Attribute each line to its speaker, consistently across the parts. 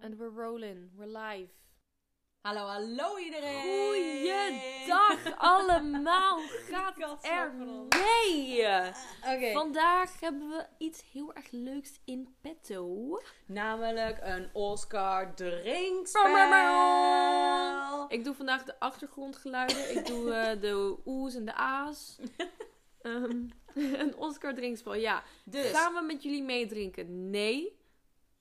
Speaker 1: En we're rolling, we're live.
Speaker 2: Hallo, hallo iedereen!
Speaker 1: Goeiedag allemaal, gaat
Speaker 2: Kat
Speaker 1: het er
Speaker 2: slaat van ons.
Speaker 1: mee?
Speaker 2: Oké,
Speaker 1: Vandaag hebben we iets heel erg leuks in petto.
Speaker 2: namelijk een Oscar
Speaker 1: Bam,
Speaker 2: drinkspel.
Speaker 1: Ik doe vandaag de achtergrondgeluiden, ik doe eh, de oes en de a's. Ehm, een Oscar drinkspel, ja.
Speaker 2: Dus,
Speaker 1: Gaan we met jullie meedrinken? Nee.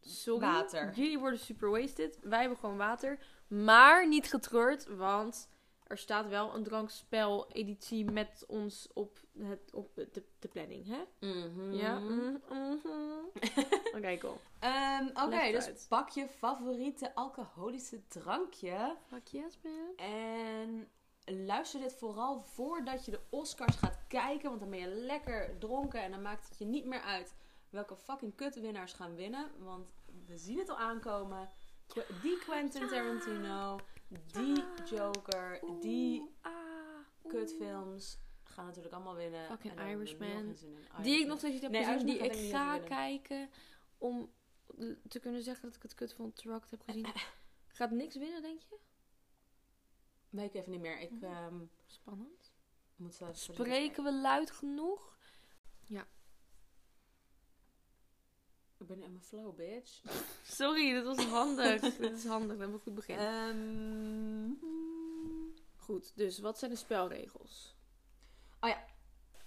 Speaker 1: Sorry.
Speaker 2: Water.
Speaker 1: Jullie worden super wasted. Wij hebben gewoon water. Maar niet getreurd, want er staat wel een drankspel-editie met ons op, het, op de, de planning, hè?
Speaker 2: Mhm.
Speaker 1: Ja. Mhm. Mhm. Oké, cool.
Speaker 2: Ehm, Oké,
Speaker 1: Left
Speaker 2: dus
Speaker 1: right. pak
Speaker 2: pak je favoriete alcoholische drankje
Speaker 1: yes, man.
Speaker 2: en luister dit vooral voordat je de Oscars gaat kijken, want dan ben je lekker dronken en dan maakt het je niet meer uit welke fucking kutwinnaars gaan winnen, want we zien het al aankomen. Qu- Die Quentin Tarantino, die Joker, die
Speaker 1: ah.
Speaker 2: kutfilms gaan natuurlijk allemaal winnen.
Speaker 1: Fucking
Speaker 2: En daar hebben we
Speaker 1: Irishman.
Speaker 2: nul geen zin in. Irishman.
Speaker 1: Die ik nog steeds niet heb
Speaker 2: Nee,
Speaker 1: gezien, die
Speaker 2: Irishman
Speaker 1: ik
Speaker 2: gaat hem
Speaker 1: ga
Speaker 2: niet
Speaker 1: kijken
Speaker 2: winnen.
Speaker 1: om te kunnen zeggen dat ik het kut van Truck heb gezien. Gaat niks winnen, denk je?
Speaker 2: Weet ik even niet meer. Ik ehm,
Speaker 1: Spannend.
Speaker 2: moet eh, zelf even
Speaker 1: Hm. Spreken we luid genoeg?
Speaker 2: Ik ben in mijn flow, bitch.
Speaker 1: Sorry, dit was handig. dit is handig, we hebben een goed begin.
Speaker 2: Eh. Ehm,
Speaker 1: goed, dus wat zijn de spelregels?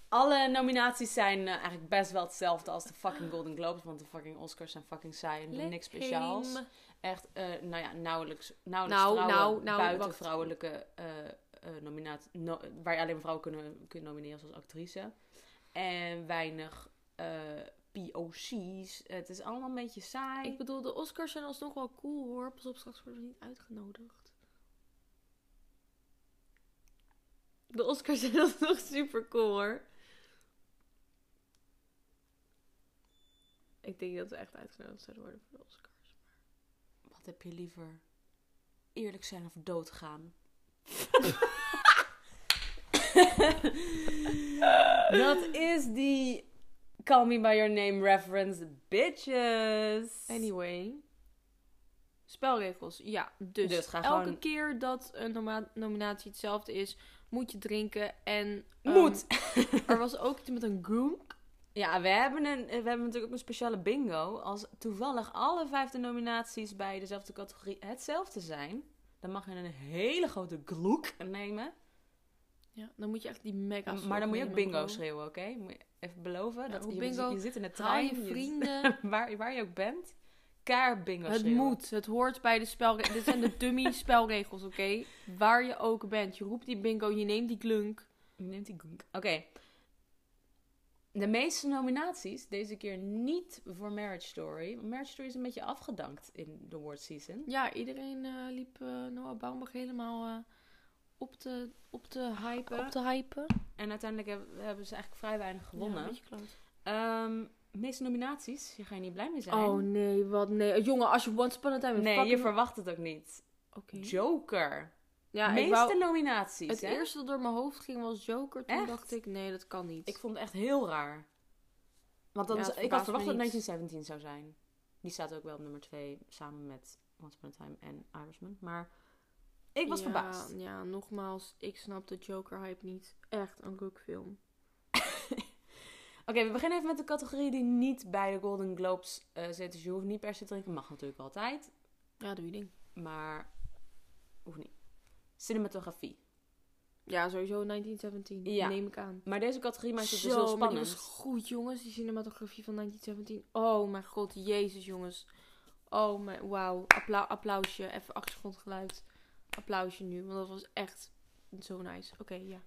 Speaker 2: alle nominaties zijn eh, eigenlijk best wel hetzelfde als de fucking Golden Globes. Want de fucking Oscars zijn fucking saai en doen niks speciaals.
Speaker 1: Leem.
Speaker 2: Echt, eh, nou ja, nauwelijks, nauwelijks
Speaker 1: Nou,
Speaker 2: vrouwen
Speaker 1: nou, nou,
Speaker 2: buiten
Speaker 1: wacht.
Speaker 2: vrouwelijke eh nominaties. waar je alleen maar vrouwen kunnen, kunnen nomineren zoals actrice. En weinig eh, POC's. Het is allemaal een beetje saai.
Speaker 1: Ik bedoel, de Oscars zijn alsnog wel cool hoor. Pas op, straks worden we niet uitgenodigd. De Oscars zijn alsnog super cool hoor. Ik denk dat we echt uitgenodigd zouden worden voor de Oscars.
Speaker 2: Wat heb je liever? Eerlijk zijn of doodgaan? Dat is die Call Me By Your Name reference, bitches.
Speaker 1: Anyway. Spelregels, ja. Dus,
Speaker 2: Dus ga
Speaker 1: elke
Speaker 2: gewoon-
Speaker 1: keer dat een norma- nominatie hetzelfde is, moet je drinken. En ehm,
Speaker 2: Moet!
Speaker 1: er was ook iets met een goonk.
Speaker 2: Ja, we hebben, een, we hebben natuurlijk ook een speciale bingo. Als toevallig alle vijfde nominaties bij dezelfde categorie hetzelfde zijn, dan mag je een hele grote gloek nemen.
Speaker 1: Ja, dan moet je echt die mega
Speaker 2: maar dan moet je ook bingo
Speaker 1: bingo's
Speaker 2: schreeuwen, oké? Moet je even beloven. dat
Speaker 1: hoe
Speaker 2: je,
Speaker 1: bingo-
Speaker 2: je zit in het
Speaker 1: Haal
Speaker 2: trein,
Speaker 1: je
Speaker 2: je zit-
Speaker 1: vrienden.
Speaker 2: waar, waar je ook bent, kaar bingo
Speaker 1: Het
Speaker 2: schreeuwen.
Speaker 1: moet. Het hoort bij de spelregels. Dit zijn de dummy spelregels, oké? Waar je ook bent. Je roept die bingo, je neemt die klunk.
Speaker 2: Je Neemt die goenk. Oké. De meeste nominaties, deze keer niet voor Marriage Story. Want Marriage Story is een beetje afgedankt in de award season.
Speaker 1: Ja, iedereen eh, liep eh, Noah Baumbach helemaal eh, op, te, op te hypen. Op te hypen.
Speaker 2: En uiteindelijk heb- hebben ze eigenlijk vrij weinig
Speaker 1: Ja,
Speaker 2: gewonnen.
Speaker 1: een beetje kloot.
Speaker 2: Ehm, de meeste nominaties, hier ga je niet blij mee zijn.
Speaker 1: Oh nee, wat nee. Eh, Jongen, als je Once Upon a Time... een
Speaker 2: nee,
Speaker 1: fucking-
Speaker 2: je verwacht het ook niet.
Speaker 1: Oké.
Speaker 2: Joker.
Speaker 1: Ja, ik
Speaker 2: meeste
Speaker 1: wou...
Speaker 2: nominaties,
Speaker 1: Het
Speaker 2: hè?
Speaker 1: eerste dat door mijn hoofd ging was Joker. Toen
Speaker 2: Echt?
Speaker 1: dacht ik, nee, dat kan niet.
Speaker 2: Ik vond het echt heel raar. Want dan
Speaker 1: Ja,
Speaker 2: is-
Speaker 1: het
Speaker 2: ik had
Speaker 1: verbaast me
Speaker 2: verwacht dat
Speaker 1: niet.
Speaker 2: 1917 zou zijn. Die staat ook wel op nummer 2 samen met Once Upon a Time en Irishman. Maar ik was
Speaker 1: Ja,
Speaker 2: verbaasd.
Speaker 1: Ja, nogmaals, ik snap de Joker-hype niet. Echt een rukfilm.
Speaker 2: Oké, we beginnen even met de categorie die niet bij de Golden Globes eh, zit. Dus je hoeft niet per se te drinken. Mag natuurlijk altijd.
Speaker 1: Ja, doe je ding.
Speaker 2: Maar hoeft niet. Cinematografie.
Speaker 1: Ja, sowieso 1917.
Speaker 2: Ja.
Speaker 1: Neem ik aan.
Speaker 2: Maar deze categorie maakt het
Speaker 1: Zo,
Speaker 2: dus heel
Speaker 1: maar die
Speaker 2: spannend.
Speaker 1: was goed, jongens. Die cinematografie van 1917. Oh mijn god, jezus, jongens. Oh mijn, wauw. Appla- applausje. Even achtergrondgeluid. Applausje nu, want dat was echt zo nice. Oké, ja.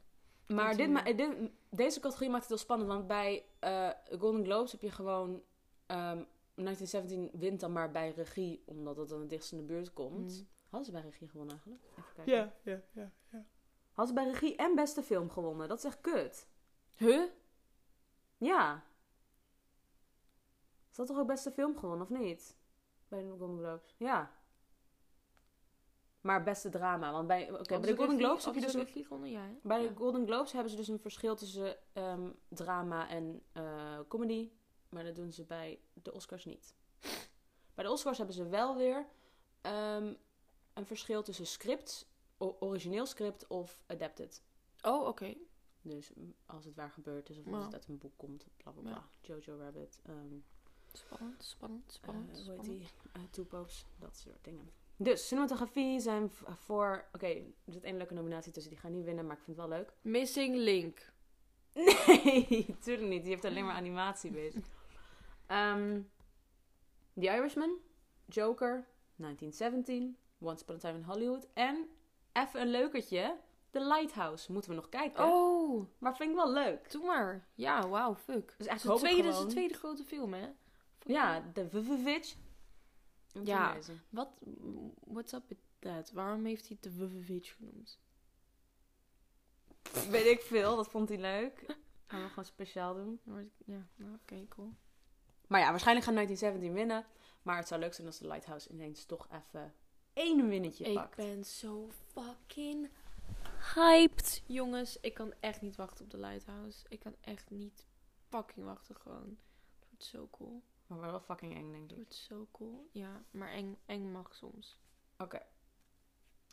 Speaker 2: Maar dit
Speaker 1: Continu.
Speaker 2: ma- eh, dit- deze categorie maakt het heel spannend. Want bij eh, Golden Globes heb je gewoon... ehm, 1917 wint dan maar bij regie. Omdat het dan het dichtst in de buurt komt.
Speaker 1: Mm.
Speaker 2: Hadden ze bij regie gewonnen eigenlijk? Even kijken.
Speaker 3: Ja, ja, ja, ja.
Speaker 2: Hadden ze bij regie en beste film gewonnen. Dat is echt kut.
Speaker 1: Huh?
Speaker 2: Ja. Ze had toch ook beste film gewonnen, of niet? Bij de Golden Globes. Ja. Maar beste drama. Want bij, oké, bij de Golden Globes heb je dus... een-
Speaker 1: gewonnen, ja. hè?
Speaker 2: Bij
Speaker 1: Ja.
Speaker 2: de Golden Globes hebben ze dus een verschil tussen ehm, drama en eh, comedy. Maar dat doen ze bij de Oscars niet. Bij de Oscars hebben ze wel weer ehm, een verschil tussen script, o- origineel script of adapted.
Speaker 1: Oh, oké.
Speaker 2: Dus m, als het waar gebeurd is of
Speaker 1: Wauw.
Speaker 2: als het uit een boek komt, bla bla
Speaker 1: Ja.
Speaker 2: bla. Jojo Rabbit, ehm
Speaker 1: Spannend, spannend,
Speaker 2: eh
Speaker 1: spannend.
Speaker 2: hoe heet
Speaker 1: spannend.
Speaker 2: die? Eh, Two Popes, dat soort dingen. Dus cinematografie zijn v- voor. Oké, er zit één leuke nominatie tussen, die gaan niet winnen, maar ik vind het wel leuk.
Speaker 1: Missing Link.
Speaker 2: Nee, tuurlijk niet. Die heeft alleen maar animatie bezig. Ehm The Irishman, Joker, 1917, Once Upon a Time in Hollywood en even een leukertje, The Lighthouse. Moeten we nog kijken.
Speaker 1: Oh,
Speaker 2: Maar vind ik wel leuk.
Speaker 1: doe maar. Ja, wauw, fuck.
Speaker 2: Dus
Speaker 1: Dus
Speaker 2: echt
Speaker 1: echt
Speaker 2: hoop
Speaker 1: de
Speaker 2: ik
Speaker 1: tweede, is de
Speaker 2: gewoon-
Speaker 1: tweede grote film, hè? Fuck
Speaker 2: Ja,
Speaker 1: yeah.
Speaker 2: The Vivitch.
Speaker 1: Ja. Wat, what's up with that? Waarom heeft hij het de Vuvovich genoemd?
Speaker 2: Weet ik veel, dat vond hij leuk. Gaan we gewoon speciaal doen.
Speaker 1: Dan word ik- Ja, nou, oké, cool.
Speaker 2: Maar ja, waarschijnlijk gaan 1917 winnen. Maar het zou leuk zijn als The Lighthouse ineens toch even één winnetje
Speaker 1: ik
Speaker 2: pakt.
Speaker 1: ben zo fucking hyped. Jongens, ik kan echt niet wachten op de Lighthouse. Ik kan echt niet fucking wachten gewoon. Het wordt zo cool.
Speaker 2: Maar wel fucking eng, denk
Speaker 1: Het
Speaker 2: ik.
Speaker 1: wordt zo cool. Ja, maar eng, eng mag soms.
Speaker 2: Oké.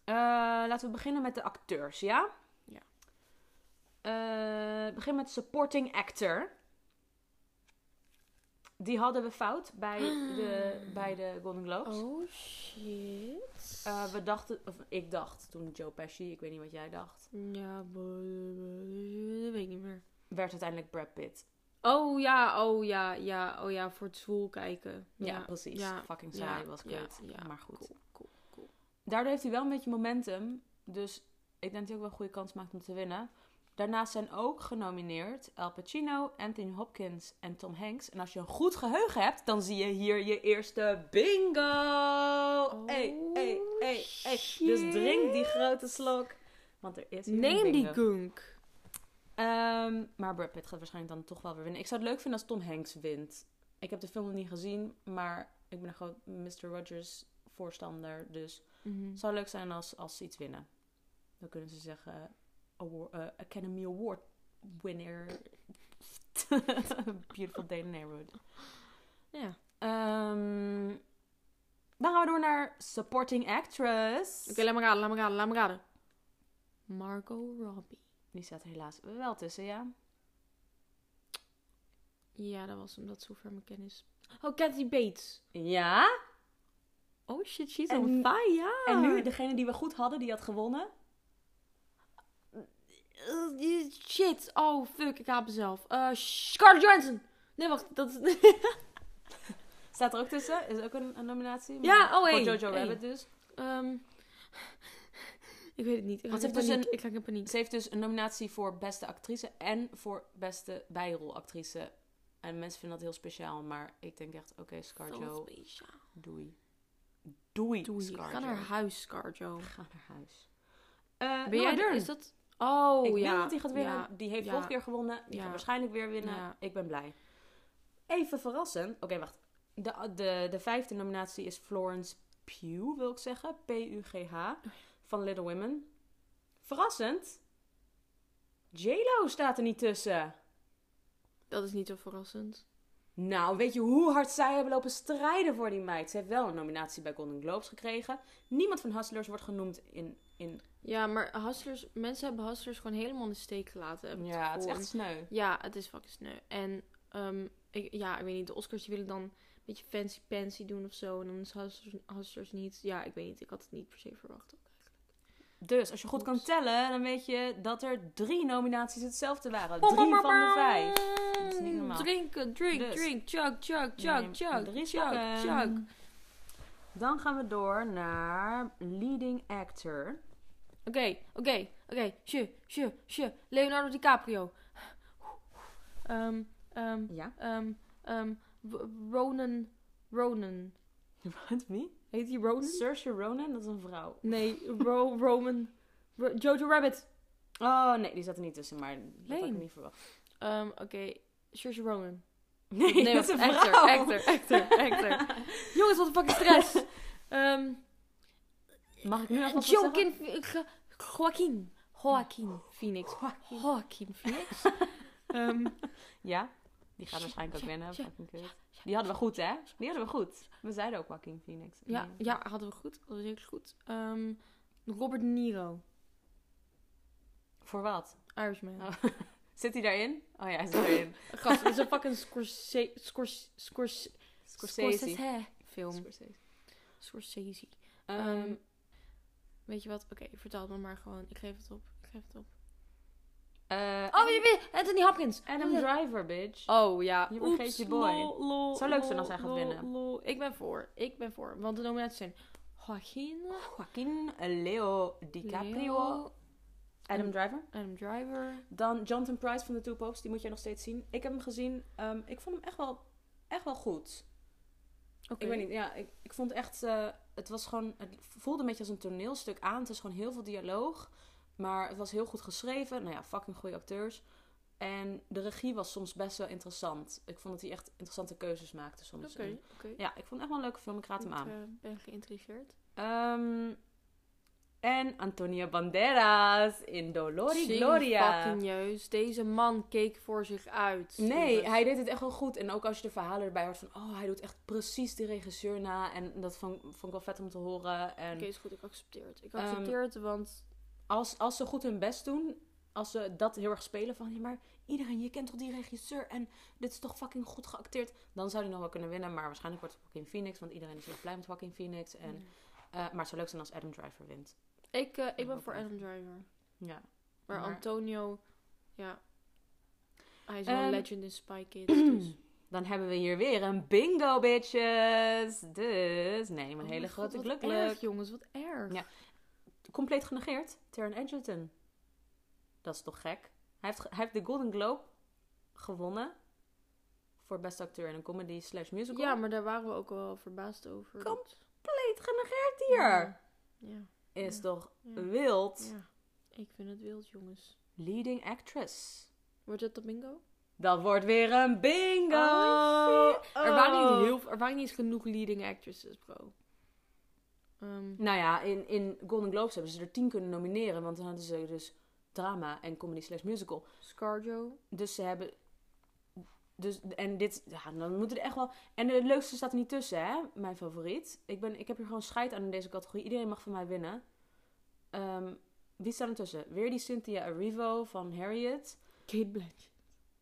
Speaker 2: Eh, laten we beginnen met de acteurs, ja?
Speaker 1: Ja.
Speaker 2: Eh, begin met supporting actor. Die hadden we fout bij de, bij de Golden Globes.
Speaker 1: Ah. Oh shit.
Speaker 2: Eh, we dachten, of ik dacht toen Joe Pesci, ik weet niet wat jij dacht,
Speaker 1: Ja, bo- dat weet ik niet meer.
Speaker 2: werd uiteindelijk Brad Pitt.
Speaker 1: Oh ja, oh ja, ja, oh ja, voor het zwoel kijken.
Speaker 2: Ja, precies.
Speaker 1: ja,
Speaker 2: Fucking saai was
Speaker 1: ja,
Speaker 2: kut.
Speaker 1: ja.
Speaker 2: maar goed.
Speaker 1: Cool, cool, cool.
Speaker 2: Daardoor heeft hij wel een beetje momentum. Dus ik denk dat hij ook wel een goede kans maakt om te winnen. Daarnaast zijn ook genomineerd Al Pacino, Anthony Hopkins en Tom Hanks. En als je een goed geheugen hebt, dan zie je hier je eerste bingo! hey, hey, hey, hey. Dus
Speaker 1: Oh, shit.
Speaker 2: drink die grote slok. Want er is hier een
Speaker 1: Neem die
Speaker 2: bingo.
Speaker 1: gunk.
Speaker 2: Ehm, maar Brad Pitt gaat waarschijnlijk dan toch wel weer winnen. Ik zou het leuk vinden als Tom Hanks wint. Ik heb de film nog niet gezien, maar ik ben een groot Mr. Rogers voorstander. Dus
Speaker 1: Mhm.
Speaker 2: het zou leuk zijn als, als ze iets winnen. Dan kunnen ze zeggen awar- eh, Academy Award winner. Beautiful day in the neighborhood.
Speaker 1: Ja.
Speaker 2: Ehm, dan gaan we door naar supporting actress.
Speaker 1: Oké, laat me raden, laat me raden, laat me raden. Margot Robbie.
Speaker 2: Die staat er helaas wel tussen, ja.
Speaker 1: Ja, dat was hem, dat is zover mijn kennis. Oh, Kathy Bates.
Speaker 2: Ja.
Speaker 1: Oh shit, she's
Speaker 2: En-
Speaker 1: on fire.
Speaker 2: En nu degene die we goed hadden, die had gewonnen.
Speaker 1: Eh, die- shit, oh fuck, ik haat mezelf. Eh, Scarlett Johansson. Nee, wacht, dat is...
Speaker 2: Staat er ook tussen. Is ook een, een nominatie.
Speaker 1: Ja,
Speaker 2: maar
Speaker 1: oh, hey,
Speaker 2: Voor Jojo
Speaker 1: hey.
Speaker 2: Rabbit dus.
Speaker 1: Ehm, ik weet het niet. Ik raak
Speaker 2: Want ze
Speaker 1: in
Speaker 2: heeft dus
Speaker 1: paniek.
Speaker 2: een-
Speaker 1: Ik raak in paniek.
Speaker 2: Ze heeft dus een nominatie voor beste actrice en voor beste bijrolactrice. En mensen vinden dat heel speciaal, maar ik denk echt, oké,
Speaker 1: Zo
Speaker 2: Scarjo,
Speaker 1: speciaal.
Speaker 2: doei. Doei,
Speaker 1: Doei, ik
Speaker 2: Scarjo.
Speaker 1: ga naar huis, Scarjo.
Speaker 2: Ga naar huis. Eh
Speaker 1: Ben jij
Speaker 2: er?
Speaker 1: Is dat... Oh,
Speaker 2: ik
Speaker 1: ja.
Speaker 2: denk dat hij gaat winnen.
Speaker 1: Ja.
Speaker 2: die heeft
Speaker 1: ja.
Speaker 2: vorige keer gewonnen. Die
Speaker 1: Ja.
Speaker 2: gaat waarschijnlijk weer winnen.
Speaker 1: Ja.
Speaker 2: Ik ben blij. Even verrassend. Oké, wacht. De, de, de vijfde nominatie is Florence Pugh, wil ik zeggen. P-U-G-H. Van Little Women. Verrassend. J-Lo staat er niet tussen.
Speaker 1: Dat is niet zo verrassend.
Speaker 2: Nou, weet je hoe hard zij hebben lopen strijden voor die meid? Ze heeft wel een nominatie bij Golden Globes gekregen. Niemand van Hustlers wordt genoemd in... in
Speaker 1: Ja, maar hustlers... Mensen hebben hustlers gewoon helemaal in de steek gelaten. heb ik
Speaker 2: ja, het is
Speaker 1: gevoel.
Speaker 2: echt sneu.
Speaker 1: Ja, het is fucking sneu. En ehm, ik, ja, ik weet niet, de Oscars die willen dan een beetje fancy pansy doen of zo. En dan is Hustlers, Hustlers niet. Ja, ik weet niet. Ik had het niet per se verwacht. ook.
Speaker 2: Dus als je goed kan
Speaker 1: Oeps.
Speaker 2: tellen, dan weet je dat er drie nominaties hetzelfde waren. Drie van de vijf. Dat is niet normaal.
Speaker 1: Drinken, drink,
Speaker 2: Dus.
Speaker 1: drink, chug, chug, chug,
Speaker 2: Neem
Speaker 1: chug,
Speaker 2: drie
Speaker 1: chug,
Speaker 2: slokken.
Speaker 1: chug.
Speaker 2: Dan gaan we door naar leading actor.
Speaker 1: Oké, oké, oké. Sje, sje, sje. Leonardo DiCaprio. Ehm, ehm,
Speaker 2: Ja.
Speaker 1: ehm, ehm. W- Ronan, Ronan.
Speaker 2: Wat, wie?
Speaker 1: Heet hij Ronan?
Speaker 2: Saoirse Ronan, dat is een vrouw.
Speaker 1: Nee, Ro Roman. Ro- Jojo Rabbit.
Speaker 2: Oh nee, die zat er niet tussen, maar dat had ik
Speaker 1: Lame.
Speaker 2: niet verwacht.
Speaker 1: Ehm, Oké, Saoirse Ronan.
Speaker 2: Nee, dat is een
Speaker 1: wacht,
Speaker 2: vrouw.
Speaker 1: actor, actor, actor, actor. Jongens, wat een fucking stress. Ehm
Speaker 2: Mag ik nu alvast wat zeggen?
Speaker 1: Joaquin, Ge- Joaquin, Joaquin Phoenix. Joaquin Phoenix. Ehm,
Speaker 2: Ja? Die gaat waarschijnlijk ook
Speaker 1: Ja,
Speaker 2: winnen.
Speaker 1: ja,
Speaker 2: fucking kut.
Speaker 1: ja.
Speaker 2: Die hadden we goed, hè? Die hadden we goed. We zeiden ook Joaquin Phoenix.
Speaker 1: Ja, ja, hadden we goed. Dat was heel goed. Ehm, Robert De Niro,
Speaker 2: Voor wat?
Speaker 1: Irishman.
Speaker 2: Oh. Zit hij daarin? Oh ja, hij zit erin.
Speaker 1: Gast, dat is een fucking Scorsese... Scorsese... Scorsese...
Speaker 2: Scorsese.
Speaker 1: Film.
Speaker 2: Scorsese.
Speaker 1: Scorsese.
Speaker 2: Ehm,
Speaker 1: Ehm, weet je wat? Oké, vertel het me maar gewoon. Ik geef het op. Ik geef het op.
Speaker 2: eh,
Speaker 1: Oh, je bent Anthony Hopkins.
Speaker 2: Adam Driver, bitch.
Speaker 1: Oh ja.
Speaker 2: Je vergeet
Speaker 1: Oeps,
Speaker 2: je boy.
Speaker 1: Lol, lol,
Speaker 2: Zou leuk
Speaker 1: lol,
Speaker 2: zijn als hij gaat
Speaker 1: lol,
Speaker 2: winnen.
Speaker 1: lol. Ik ben voor. Ik ben voor. Want de nominaties zijn Joaquin,
Speaker 2: Joaquin Leo DiCaprio.
Speaker 1: Leo,
Speaker 2: Adam Driver.
Speaker 1: Adam Driver.
Speaker 2: Dan Jonathan Price van de Two Popes. Die moet jij nog steeds zien. Ik heb hem gezien. Ehm, ik vond hem echt wel, echt wel goed.
Speaker 1: Oké.
Speaker 2: Ik weet niet, ja, ik, ik vond echt, eh, het was gewoon, het voelde een beetje als een toneelstuk aan. Het is gewoon heel veel dialoog, maar het was heel goed geschreven. Nou ja, fucking goede acteurs. En de regie was soms best wel interessant. Ik vond dat hij echt interessante keuzes maakte
Speaker 1: Oké,
Speaker 2: soms. En,
Speaker 1: oké.
Speaker 2: Ja, ik vond het echt wel een leuke film. Ik raad hem
Speaker 1: Ik
Speaker 2: aan.
Speaker 1: eh, ben geïntrigeerd.
Speaker 2: Ehm, en Antonia Banderas in Dolori Gloria.
Speaker 1: fucking jeus. Deze man keek voor zich uit.
Speaker 2: Nee,
Speaker 1: jongens.
Speaker 2: hij deed het echt wel goed. En ook als je de verhalen erbij hoort van... Oh, hij doet echt precies de regisseur na. En dat vond, vond ik wel vet om te horen. En
Speaker 1: Oké, is goed. Ik accepteer het. Ik
Speaker 2: Ehm,
Speaker 1: accepteer het, want...
Speaker 2: als, als ze goed hun best doen, als ze dat heel erg spelen van, ja, maar iedereen, je kent toch die regisseur en dit is toch fucking goed geacteerd, dan zou die nog wel kunnen winnen. Maar waarschijnlijk wordt het Joaquin Phoenix, want iedereen is heel blij met Joaquin Phoenix. En, eh, maar het zou leuk zijn als Adam Driver wint.
Speaker 1: Ik, eh, ik
Speaker 2: Ik
Speaker 1: ben
Speaker 2: ook
Speaker 1: voor
Speaker 2: wel.
Speaker 1: Adam Driver.
Speaker 2: Ja.
Speaker 1: Maar,
Speaker 2: Maar-
Speaker 1: Antonio... Ja. Hij is wel een
Speaker 2: Ehm,
Speaker 1: legend in Spy Kids, dus...
Speaker 2: Dan hebben we hier weer een bingo, bitches. Dus neem een
Speaker 1: Oh
Speaker 2: hele
Speaker 1: mijn
Speaker 2: grote
Speaker 1: god,
Speaker 2: gluk.
Speaker 1: Wat erg, jongens. Wat erg.
Speaker 2: Ja. Compleet genegeerd, Taron Edgerton. Dat is toch gek? Hij heeft, ge- hij heeft de Golden Globe gewonnen voor beste acteur in een comedy slash musical.
Speaker 1: Ja, maar daar waren we ook wel verbaasd over.
Speaker 2: Kom,
Speaker 1: dat-
Speaker 2: compleet genegeerd hier.
Speaker 1: Ja,
Speaker 2: Is
Speaker 1: Ja.
Speaker 2: toch
Speaker 1: ja,
Speaker 2: wild.
Speaker 1: ja. Ik vind het wild, jongens.
Speaker 2: Leading actress.
Speaker 1: Wordt dat de bingo?
Speaker 2: Dat wordt weer een bingo.
Speaker 1: Oh, Er, waren niet
Speaker 2: Oh.
Speaker 1: heel, er waren niet eens genoeg leading actresses, bro. Ehm,
Speaker 2: Nou ja, in, in Golden Globes hebben ze er tien kunnen nomineren. Want dan hadden ze dus drama en comedy slash musical.
Speaker 1: Scarjo.
Speaker 2: Dus ze hebben... Dus, en dit... Ja, dan moeten er echt wel... En de leukste staat er niet tussen, hè? Mijn favoriet. Ik, ben, ik heb hier gewoon scheid aan in deze categorie. Iedereen mag van mij winnen. Ehm, wie staat er tussen? Weer die Cynthia Erivo van Harriet.
Speaker 1: Kate Blanchett.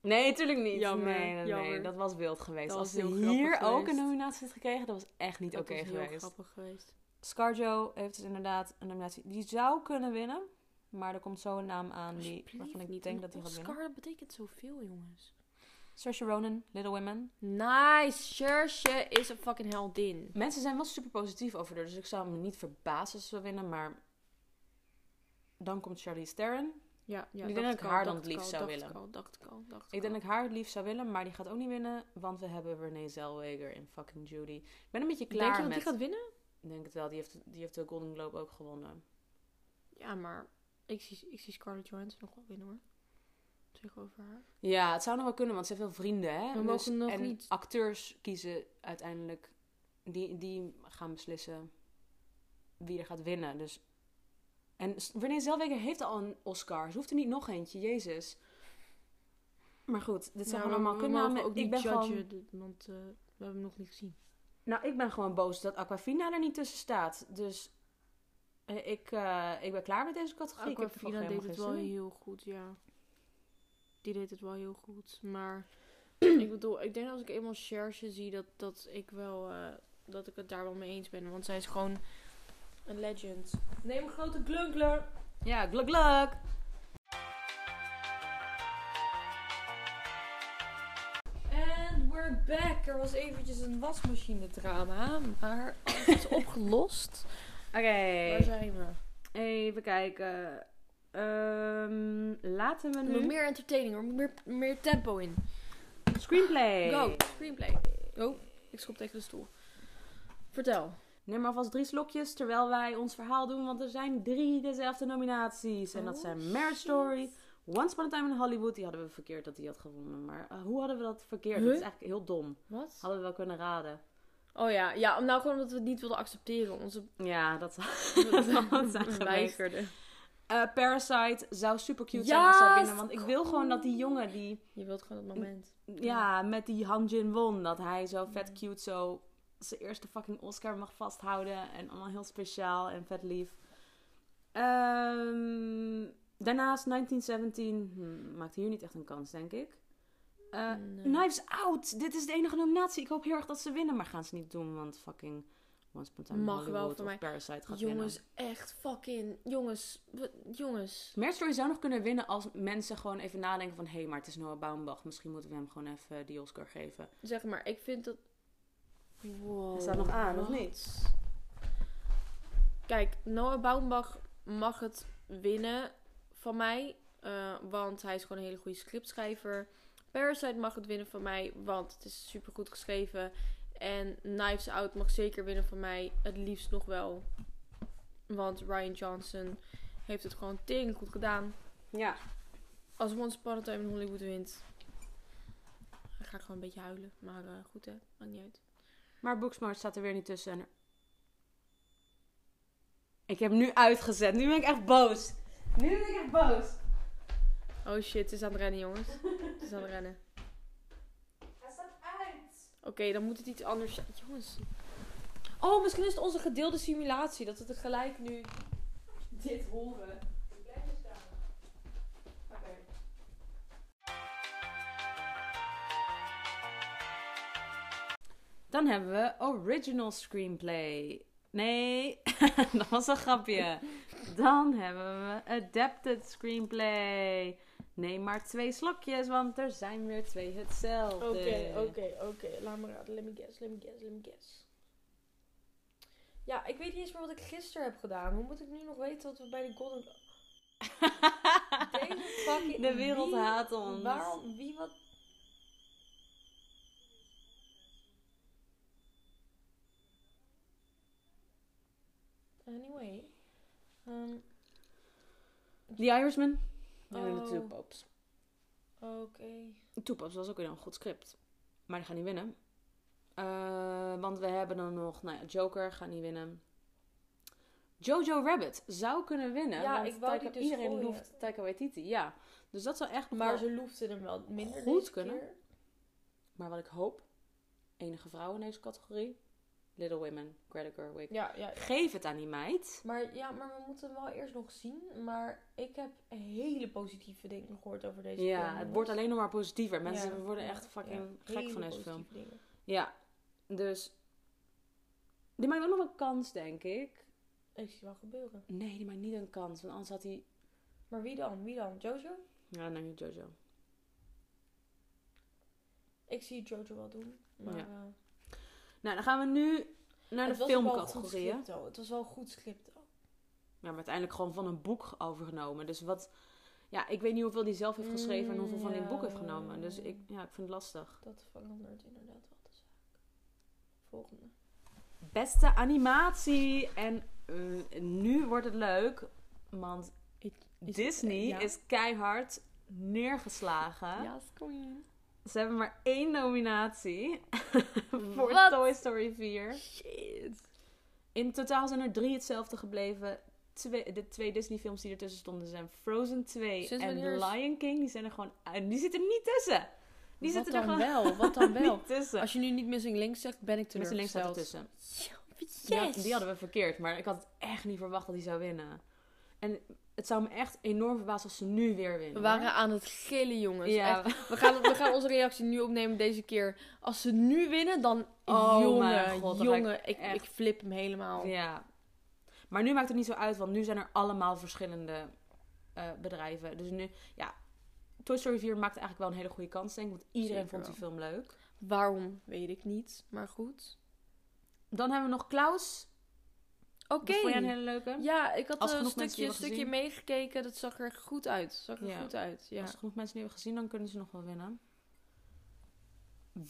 Speaker 2: Nee, tuurlijk niet.
Speaker 1: Jammer,
Speaker 2: nee, nee, nee,
Speaker 1: jammer.
Speaker 2: dat was wild geweest.
Speaker 1: Dat
Speaker 2: Als
Speaker 1: was
Speaker 2: ze
Speaker 1: heel grappig
Speaker 2: hier ook een
Speaker 1: geweest.
Speaker 2: nominatie had gekregen, dat was echt niet
Speaker 1: Dat
Speaker 2: oké
Speaker 1: was heel
Speaker 2: geweest.
Speaker 1: grappig geweest.
Speaker 2: Scarjo heeft dus inderdaad een nominatie. Die zou kunnen winnen, maar er komt zo een naam aan die,
Speaker 1: Alsjeblieft
Speaker 2: waarvan ik
Speaker 1: niet,
Speaker 2: denk
Speaker 1: een
Speaker 2: dat hij gaat winnen.
Speaker 1: Oscar, dat betekent zoveel, jongens.
Speaker 2: Saoirse Ronan, Little Women.
Speaker 1: Nice. Saoirse is een fucking heldin.
Speaker 2: Mensen zijn wel super positief over haar, dus ik zou me niet verbazen als ze winnen, maar... Dan komt Charlize Theron.
Speaker 1: Ja, ja.
Speaker 2: Ik denk dat ik
Speaker 1: al,
Speaker 2: haar dan
Speaker 1: dacht
Speaker 2: het
Speaker 1: ik
Speaker 2: liefst
Speaker 1: al,
Speaker 2: zou
Speaker 1: dacht
Speaker 2: willen.
Speaker 1: Ik, al, dacht ik al, dacht
Speaker 2: Ik denk dat
Speaker 1: al.
Speaker 2: ik haar het liefst zou willen, maar die gaat ook niet winnen, want we hebben Renee Zellweger in fucking Judy. Ik ben een beetje klaar
Speaker 1: Denk je dat
Speaker 2: met...
Speaker 1: die gaat winnen?
Speaker 2: Ik denk het wel, die heeft, die heeft de Golden Globe ook gewonnen.
Speaker 1: Ja, maar ik zie, ik zie Scarlett Johansson nog wel winnen, hoor. Zeg over haar.
Speaker 2: Ja, het zou nog wel kunnen, want ze heeft veel vrienden, hè? Dus-
Speaker 1: We mogen nog
Speaker 2: en
Speaker 1: niet-
Speaker 2: acteurs kiezen uiteindelijk. Die, die gaan beslissen wie er gaat winnen. Dus... En S- Renee Zellweger heeft al een Oscar. Ze hoeft er niet nog eentje, jezus. Maar goed, dit zijn
Speaker 1: Nou,
Speaker 2: gewoon allemaal
Speaker 1: we mogen
Speaker 2: kunnamen.
Speaker 1: ook
Speaker 2: Ik
Speaker 1: niet
Speaker 2: ben
Speaker 1: judgen,
Speaker 2: gewoon...
Speaker 1: dit- want eh, we hebben hem nog niet gezien.
Speaker 2: Nou, ik ben gewoon boos dat Aquafina er niet tussen staat. Dus eh, ik, eh, ik ben klaar met deze categorie. Ik heb er
Speaker 1: Aquafina
Speaker 2: gewoon
Speaker 1: deed het
Speaker 2: helemaal
Speaker 1: wel
Speaker 2: geen zin in.
Speaker 1: heel goed, ja. Die deed het wel heel goed. Maar ik bedoel, ik denk als ik eenmaal Cherche zie, dat, dat ik wel eh, dat ik het daar wel mee eens ben. Want zij is gewoon een legend. Neem een grote klunkler.
Speaker 2: Ja, gluk gluk!
Speaker 1: And we're back. Er was eventjes een wasmachine drama, maar alles is opgelost.
Speaker 2: Oké.
Speaker 1: Waar zijn we?
Speaker 2: Even kijken. Ehm, laten we
Speaker 1: Er
Speaker 2: nu...
Speaker 1: moet meer entertaining, er moet meer, meer tempo in.
Speaker 2: Screenplay.
Speaker 1: Go, screenplay. Oh, ik schop tegen de stoel. Vertel.
Speaker 2: Neem maar alvast drie slokjes terwijl wij ons verhaal doen. Want er zijn drie dezelfde nominaties. En dat
Speaker 1: Oh,
Speaker 2: zijn Marriage
Speaker 1: shit.
Speaker 2: Story, Once Upon a Time in Hollywood. Die hadden we verkeerd dat die had gewonnen. Maar eh, hoe hadden we dat verkeerd?
Speaker 1: Huh?
Speaker 2: Dat is eigenlijk heel dom.
Speaker 1: Wat?
Speaker 2: Hadden we wel kunnen raden.
Speaker 1: Oh ja, ja, om- nou gewoon omdat we het niet wilden accepteren. Onze
Speaker 2: Ja, dat, dat had zijn geweest.
Speaker 1: weigerden.
Speaker 2: Eh, Parasite zou super cute zijn
Speaker 1: Ja,
Speaker 2: als zij winnen.
Speaker 1: is
Speaker 2: Want ik wil gewoon dat die jongen die...
Speaker 1: Je wilt gewoon dat moment.
Speaker 2: Ja, met die Han Jin won. Dat hij zo vet cute zo zijn eerste fucking Oscar mag vasthouden. En allemaal heel speciaal en vet lief. Ehm, daarnaast 1917 hmm, maakt hier niet echt een kans, denk ik. Eh,
Speaker 1: Nee.
Speaker 2: Knives Out. Dit is de enige nominatie. Ik hoop heel erg dat ze winnen, maar gaan ze niet doen. Want fucking Once Upon a Time in
Speaker 1: Mag wel
Speaker 2: Hollywood
Speaker 1: voor
Speaker 2: of
Speaker 1: mij.
Speaker 2: Parasite gaat
Speaker 1: Jongens,
Speaker 2: winnen.
Speaker 1: echt fucking. Jongens, we- jongens.
Speaker 2: Marriage Story zou nog kunnen winnen als mensen gewoon even nadenken van... Hé, hey, maar het is Noah Baumbach. Misschien moeten we hem gewoon even die Oscar geven.
Speaker 1: Zeg maar, ik vind dat. Wow.
Speaker 2: Hij staat nog aan, of
Speaker 1: wat?
Speaker 2: niet?
Speaker 1: Kijk, Noah Baumbach mag het winnen van mij. eh, want hij is gewoon een hele goede scriptschrijver. Parasite mag het winnen van mij, want het is super goed geschreven. En Knives Out mag zeker winnen van mij. Het liefst nog wel. Want Ryan Johnson heeft het gewoon tering goed gedaan.
Speaker 2: Ja.
Speaker 1: Als Once Upon a Time in Hollywood wint, dan ga ik gewoon een beetje huilen. Maar eh, goed hè, maakt niet uit.
Speaker 2: Maar Booksmart staat er weer niet tussen. En... Ik heb nu uitgezet. Nu ben ik echt boos. Nu ben ik echt boos.
Speaker 1: Oh shit, het is aan het rennen jongens. Het is aan het rennen.
Speaker 2: Hij staat uit.
Speaker 1: Oké, dan moet het iets anders zijn. Jongens. Oh, misschien is het onze gedeelde simulatie. Dat we het gelijk nu...
Speaker 2: Dit horen. Dan hebben we original screenplay. Nee, dat was een grapje. Dan hebben we adapted screenplay. Neem maar twee slokjes, want er zijn weer twee hetzelfde.
Speaker 1: oké. Laat maar raden. Let me guess, let me guess, let me guess. Ja, ik weet niet eens meer wat ik gisteren heb gedaan. Hoe moet ik nu nog weten wat we bij de Golden... Deze fucking...
Speaker 2: De wereld
Speaker 1: wie-
Speaker 2: haat ons.
Speaker 1: Waarom? Wie wat? Anyway. Ehm,
Speaker 2: The Irishman. Ja,
Speaker 1: Oh.
Speaker 2: de Two Pops.
Speaker 1: Oké.
Speaker 2: Two Pops was ook weer een goed script. Maar die gaat niet winnen. Eh, want we hebben dan nog, nou ja, Joker gaat niet winnen. Jojo Rabbit zou kunnen winnen.
Speaker 1: Ja,
Speaker 2: want
Speaker 1: ik wou die
Speaker 2: Taika-
Speaker 1: dus
Speaker 2: Iedereen
Speaker 1: gooien.
Speaker 2: loeft Taika Waititi, ja. Dus dat zou echt nog
Speaker 1: Maar
Speaker 2: wel-
Speaker 1: ze loefde hem wel minder
Speaker 2: Goed
Speaker 1: deze
Speaker 2: kunnen.
Speaker 1: keer.
Speaker 2: Maar wat ik hoop, enige vrouw in deze categorie. Little Women, Greta Gerwig.
Speaker 1: Ja, ja.
Speaker 2: Geef het aan die meid.
Speaker 1: Maar, ja, maar we moeten hem wel eerst nog zien. Maar ik heb hele positieve dingen gehoord over deze film.
Speaker 2: Ja, het wordt alleen nog maar positiever. Mensen
Speaker 1: Ja.
Speaker 2: worden echt fucking
Speaker 1: Ja,
Speaker 2: gek
Speaker 1: hele
Speaker 2: van deze film.
Speaker 1: positieve dingen.
Speaker 2: Ja, dus. Die maakt wel nog een kans, denk ik.
Speaker 1: Ik zie wel gebeuren.
Speaker 2: Nee, die maakt niet een kans, want anders had hij.
Speaker 1: Maar wie dan? Wie dan? Jojo?
Speaker 2: Ja, dan niet Jojo.
Speaker 1: Ik zie Jojo wel doen. Maar,
Speaker 2: Ja.
Speaker 1: eh,
Speaker 2: Nou, dan gaan we nu naar
Speaker 1: het
Speaker 2: de
Speaker 1: was ook wel een goed
Speaker 2: filmcategorieën.
Speaker 1: script, hoor. Het was wel een goed script. hoor.
Speaker 2: Ja, maar uiteindelijk gewoon van een boek overgenomen. Dus wat. Ja, ik weet niet hoeveel die zelf heeft geschreven en
Speaker 1: Mm,
Speaker 2: hoeveel van dit
Speaker 1: ja,
Speaker 2: boek heeft
Speaker 1: ja,
Speaker 2: genomen.
Speaker 1: ja,
Speaker 2: Dus
Speaker 1: ja.
Speaker 2: ik, ja, ik vind het lastig.
Speaker 1: Dat verandert inderdaad wel de zaak. Volgende.
Speaker 2: Beste animatie. En eh, nu wordt het leuk, want
Speaker 1: Is- eh,
Speaker 2: Disney
Speaker 1: ja.
Speaker 2: is keihard neergeslagen.
Speaker 1: Yes, queen.
Speaker 2: Ze hebben maar één nominatie voor
Speaker 1: Wat?
Speaker 2: Toy Story 4.
Speaker 1: Shit.
Speaker 2: In totaal zijn er drie hetzelfde gebleven. Twee, de twee Disney-films die ertussen stonden zijn Frozen 2
Speaker 1: Sinds
Speaker 2: en
Speaker 1: wanneer is-
Speaker 2: Lion King. Die zijn er gewoon en Die zitten er niet tussen. Die
Speaker 1: Wat
Speaker 2: zitten
Speaker 1: dan
Speaker 2: er gewoon
Speaker 1: wel? Wat dan wel?
Speaker 2: niet tussen.
Speaker 1: Als je nu niet Missing Links zegt, ben ik
Speaker 2: Tenminste, links staat
Speaker 1: teleurgesteld.
Speaker 2: ertussen.
Speaker 1: Yes!
Speaker 2: Die, had- die hadden we verkeerd, maar ik had het echt niet verwacht dat die zou winnen. En het zou me echt enorm verbazen als ze nu weer winnen.
Speaker 1: We
Speaker 2: hoor.
Speaker 1: waren aan het gillen, jongens.
Speaker 2: Ja,
Speaker 1: Echt. We, gaan, we gaan onze reactie nu opnemen deze keer. Als ze nu winnen, dan...
Speaker 2: Oh
Speaker 1: jongen,
Speaker 2: mijn god, dan ga ik
Speaker 1: jongen. Ik, ik,
Speaker 2: echt-
Speaker 1: flip hem helemaal.
Speaker 2: Ja. Maar nu maakt het niet zo uit, want nu zijn er allemaal verschillende eh, bedrijven. Dus nu, ja. Toy Story 4 maakt eigenlijk wel een hele goede kans, denk ik. Want iedereen
Speaker 1: Zeker
Speaker 2: vond die film leuk.
Speaker 1: Waarom, weet ik niet. Maar goed.
Speaker 2: Dan hebben we nog Klaus.
Speaker 1: Oké.
Speaker 2: Dat vond jij een hele leuke.
Speaker 1: Ja, ik had
Speaker 2: Als
Speaker 1: eh, een
Speaker 2: genoeg mensen
Speaker 1: stukje,
Speaker 2: die
Speaker 1: een
Speaker 2: hebben
Speaker 1: stukje meegekeken. Dat zag er goed uit. Zag er
Speaker 2: Ja.
Speaker 1: goed uit, ja.
Speaker 2: Als er genoeg mensen die hebben gezien, dan kunnen ze nog wel winnen.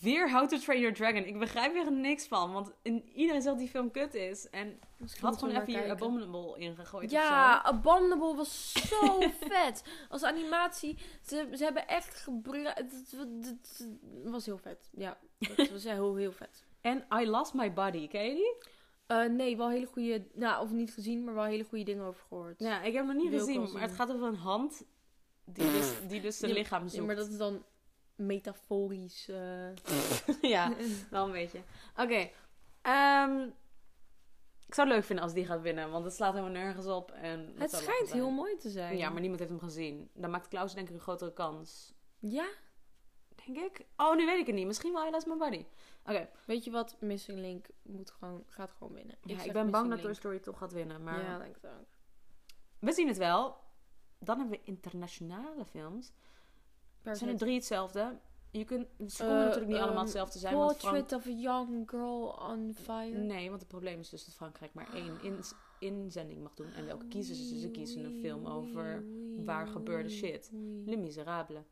Speaker 2: Weer How to Train Your Dragon. Ik begrijp er niks van, want in- iedereen zegt dat die film kut is. En
Speaker 1: Misschien moeten
Speaker 2: had
Speaker 1: we
Speaker 2: gewoon
Speaker 1: maar
Speaker 2: even hier
Speaker 1: kijken.
Speaker 2: Abominable in gegooid of
Speaker 1: Ja,
Speaker 2: zo.
Speaker 1: Abominable was zo vet. Als animatie. Ze, ze hebben echt gebruikt. Het, het- het- het was heel vet. Ja, het was heel, heel vet.
Speaker 2: En I Lost My Body, ken je die?
Speaker 1: Eh, nee, wel hele goede... Nou, of niet gezien, maar wel hele goede dingen over gehoord.
Speaker 2: Ja, ik heb hem nog niet
Speaker 1: Wil ik wel
Speaker 2: gezien,
Speaker 1: zien.
Speaker 2: maar het gaat over een hand die dus, die dus zijn
Speaker 1: Ja,
Speaker 2: lichaam
Speaker 1: Ja,
Speaker 2: zoekt.
Speaker 1: maar dat is dan metaforisch. eh.
Speaker 2: ja, wel een beetje. Oké. ehm, ik zou het leuk vinden als die gaat winnen, want het slaat helemaal nergens op. En het
Speaker 1: het
Speaker 2: zou lachen
Speaker 1: schijnt
Speaker 2: zijn.
Speaker 1: heel mooi te zijn.
Speaker 2: Ja, maar niemand heeft hem gezien. Dan maakt Klaus denk ik een grotere kans.
Speaker 1: Ja?
Speaker 2: Denk ik? Oh, nu weet ik het niet. Misschien wel helaas mijn body. Oké.
Speaker 1: Weet je wat? Missing Link moet gewoon, gaat gewoon winnen.
Speaker 2: Ja, ik,
Speaker 1: zeg
Speaker 2: ben bang
Speaker 1: Missing
Speaker 2: dat Toy
Speaker 1: Link.
Speaker 2: Story toch gaat winnen, maar
Speaker 1: Ja, denk ik ook.
Speaker 2: we zien het wel. Dan hebben we internationale films. Er zijn er drie hetzelfde. Je kunt, ze konden
Speaker 1: Eh,
Speaker 2: natuurlijk niet allemaal
Speaker 1: ehm,
Speaker 2: hetzelfde zijn, want Frank...
Speaker 1: Portrait of a young girl on fire.
Speaker 2: Nee, want het probleem is dus dat Frankrijk maar
Speaker 1: Ah.
Speaker 2: één in, inzending mag doen. En welke kiezen ze? Ze kiezen een film over waar gebeurde shit. Les Miserables.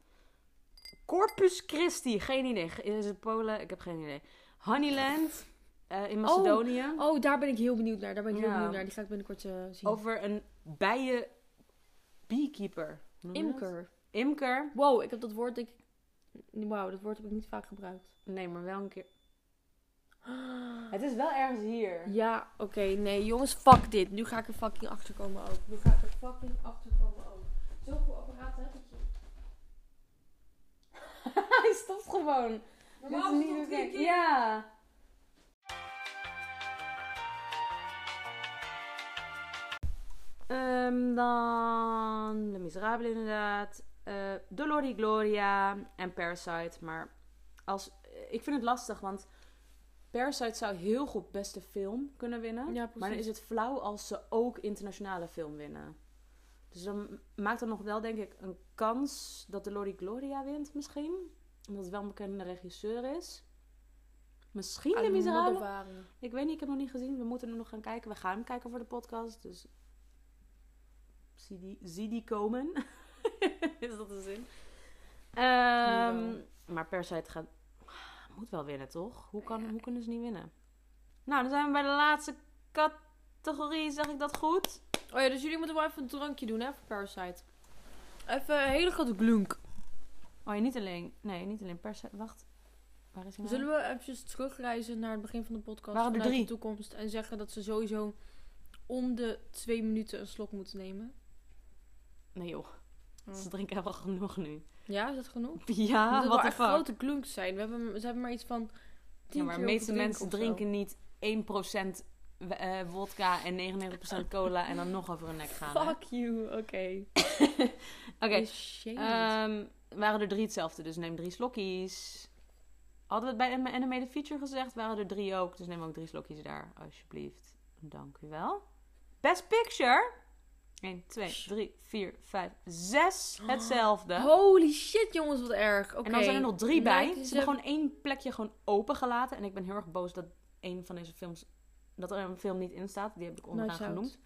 Speaker 2: Corpus Christi, geen idee. Ge- Is het Polen? Ik heb geen idee. Honeyland eh, in Macedonië.
Speaker 1: Oh, daar ben ik heel benieuwd naar. Daar ben ik heel
Speaker 2: Ja.
Speaker 1: benieuwd naar. Die ga ik binnenkort eh, zien.
Speaker 2: Over een bijen... Beekeeper. Hoe noem je dat?
Speaker 1: Imker.
Speaker 2: Imker.
Speaker 1: Wow, ik heb dat woord denk ik... Wauw, dat woord heb ik niet vaak gebruikt.
Speaker 2: Nee, maar wel een keer... Het is wel ergens hier.
Speaker 1: Ja, oké. nee, jongens, fuck dit. Nu ga ik er fucking achter komen ook. Nu ga ik er fucking achter komen ook. Zoveel apparaten heb ik hier.
Speaker 2: Hij stopt gewoon.
Speaker 1: Normaal
Speaker 2: Dit
Speaker 1: is het tot drie
Speaker 2: oké.
Speaker 1: keer.
Speaker 2: Ja. Ehm, dan Le Miserabele inderdaad. Eh Dolor y Gloria en Parasite. Maar als, eh, ik vind het lastig, want Parasite zou heel goed beste film kunnen
Speaker 1: Ja,
Speaker 2: winnen.
Speaker 1: precies.
Speaker 2: Maar dan is het flauw als ze ook internationale film winnen. Dus dan maakt dat nog wel, denk ik, een kans dat de Lori Gloria wint misschien. Omdat het wel een bekende regisseur is. Misschien de Miserabele.
Speaker 1: Almodovar.
Speaker 2: Ik weet niet, ik heb hem nog niet gezien. We moeten hem nog gaan kijken. We gaan hem kijken voor de podcast. Dus zie die, zie die komen. is dat de zin? Ehm,
Speaker 1: Jawel.
Speaker 2: maar Persheid gaat... moet wel winnen, toch? Hoe, kan,
Speaker 1: Ja.
Speaker 2: hoe kunnen ze niet winnen? Nou, dan zijn we bij de laatste categorie. Zeg ik dat goed?
Speaker 1: Oh ja, dus jullie moeten wel even een drankje doen, hè, voor Parasite. Even een hele grote glunk.
Speaker 2: Oh ja, niet alleen... Nee, niet alleen Persheid. Wacht. Waar is hij nou?
Speaker 1: Zullen we eventjes terugreizen naar het begin van de podcast
Speaker 2: Waren er
Speaker 1: vanuit
Speaker 2: drie?
Speaker 1: de toekomst en zeggen dat ze sowieso om de twee minuten een slok moeten nemen?
Speaker 2: Nee joh,
Speaker 1: Oh.
Speaker 2: ze drinken wel genoeg nu.
Speaker 1: Ja, is dat genoeg?
Speaker 2: Mm. Ja,
Speaker 1: Omdat
Speaker 2: wat
Speaker 1: het
Speaker 2: de
Speaker 1: echt
Speaker 2: Ah, fuck.
Speaker 1: grote klunks zijn. We hebben, ze hebben maar iets van 10
Speaker 2: Ja, maar de
Speaker 1: keer
Speaker 2: meeste
Speaker 1: hoeveel
Speaker 2: mensen
Speaker 1: drinken of zo.
Speaker 2: drinken niet 1% w- eh, wodka en 99% cola en dan nog over hun nek gaan. hè?
Speaker 1: Fuck you, oké.
Speaker 2: Oké,
Speaker 1: Je shamed.
Speaker 2: ehm, waren er drie hetzelfde, dus neem drie slokjes. Hadden we het bij de animated feature gezegd, waren er drie ook, dus neem ook drie slokjes daar, alsjeblieft. Dank u wel. Best picture. 1, 2, 3, 4, 5, 6. Hetzelfde.
Speaker 1: Holy shit, jongens, wat erg. Oké.
Speaker 2: En dan zijn er nog drie bij.
Speaker 1: Lijkt
Speaker 2: Ze
Speaker 1: dus
Speaker 2: hebben gewoon één plekje gewoon opengelaten. En ik ben heel erg boos dat één van deze films... Dat er een film niet in staat. Die heb ik onderaan
Speaker 1: Knives Out.
Speaker 2: genoemd.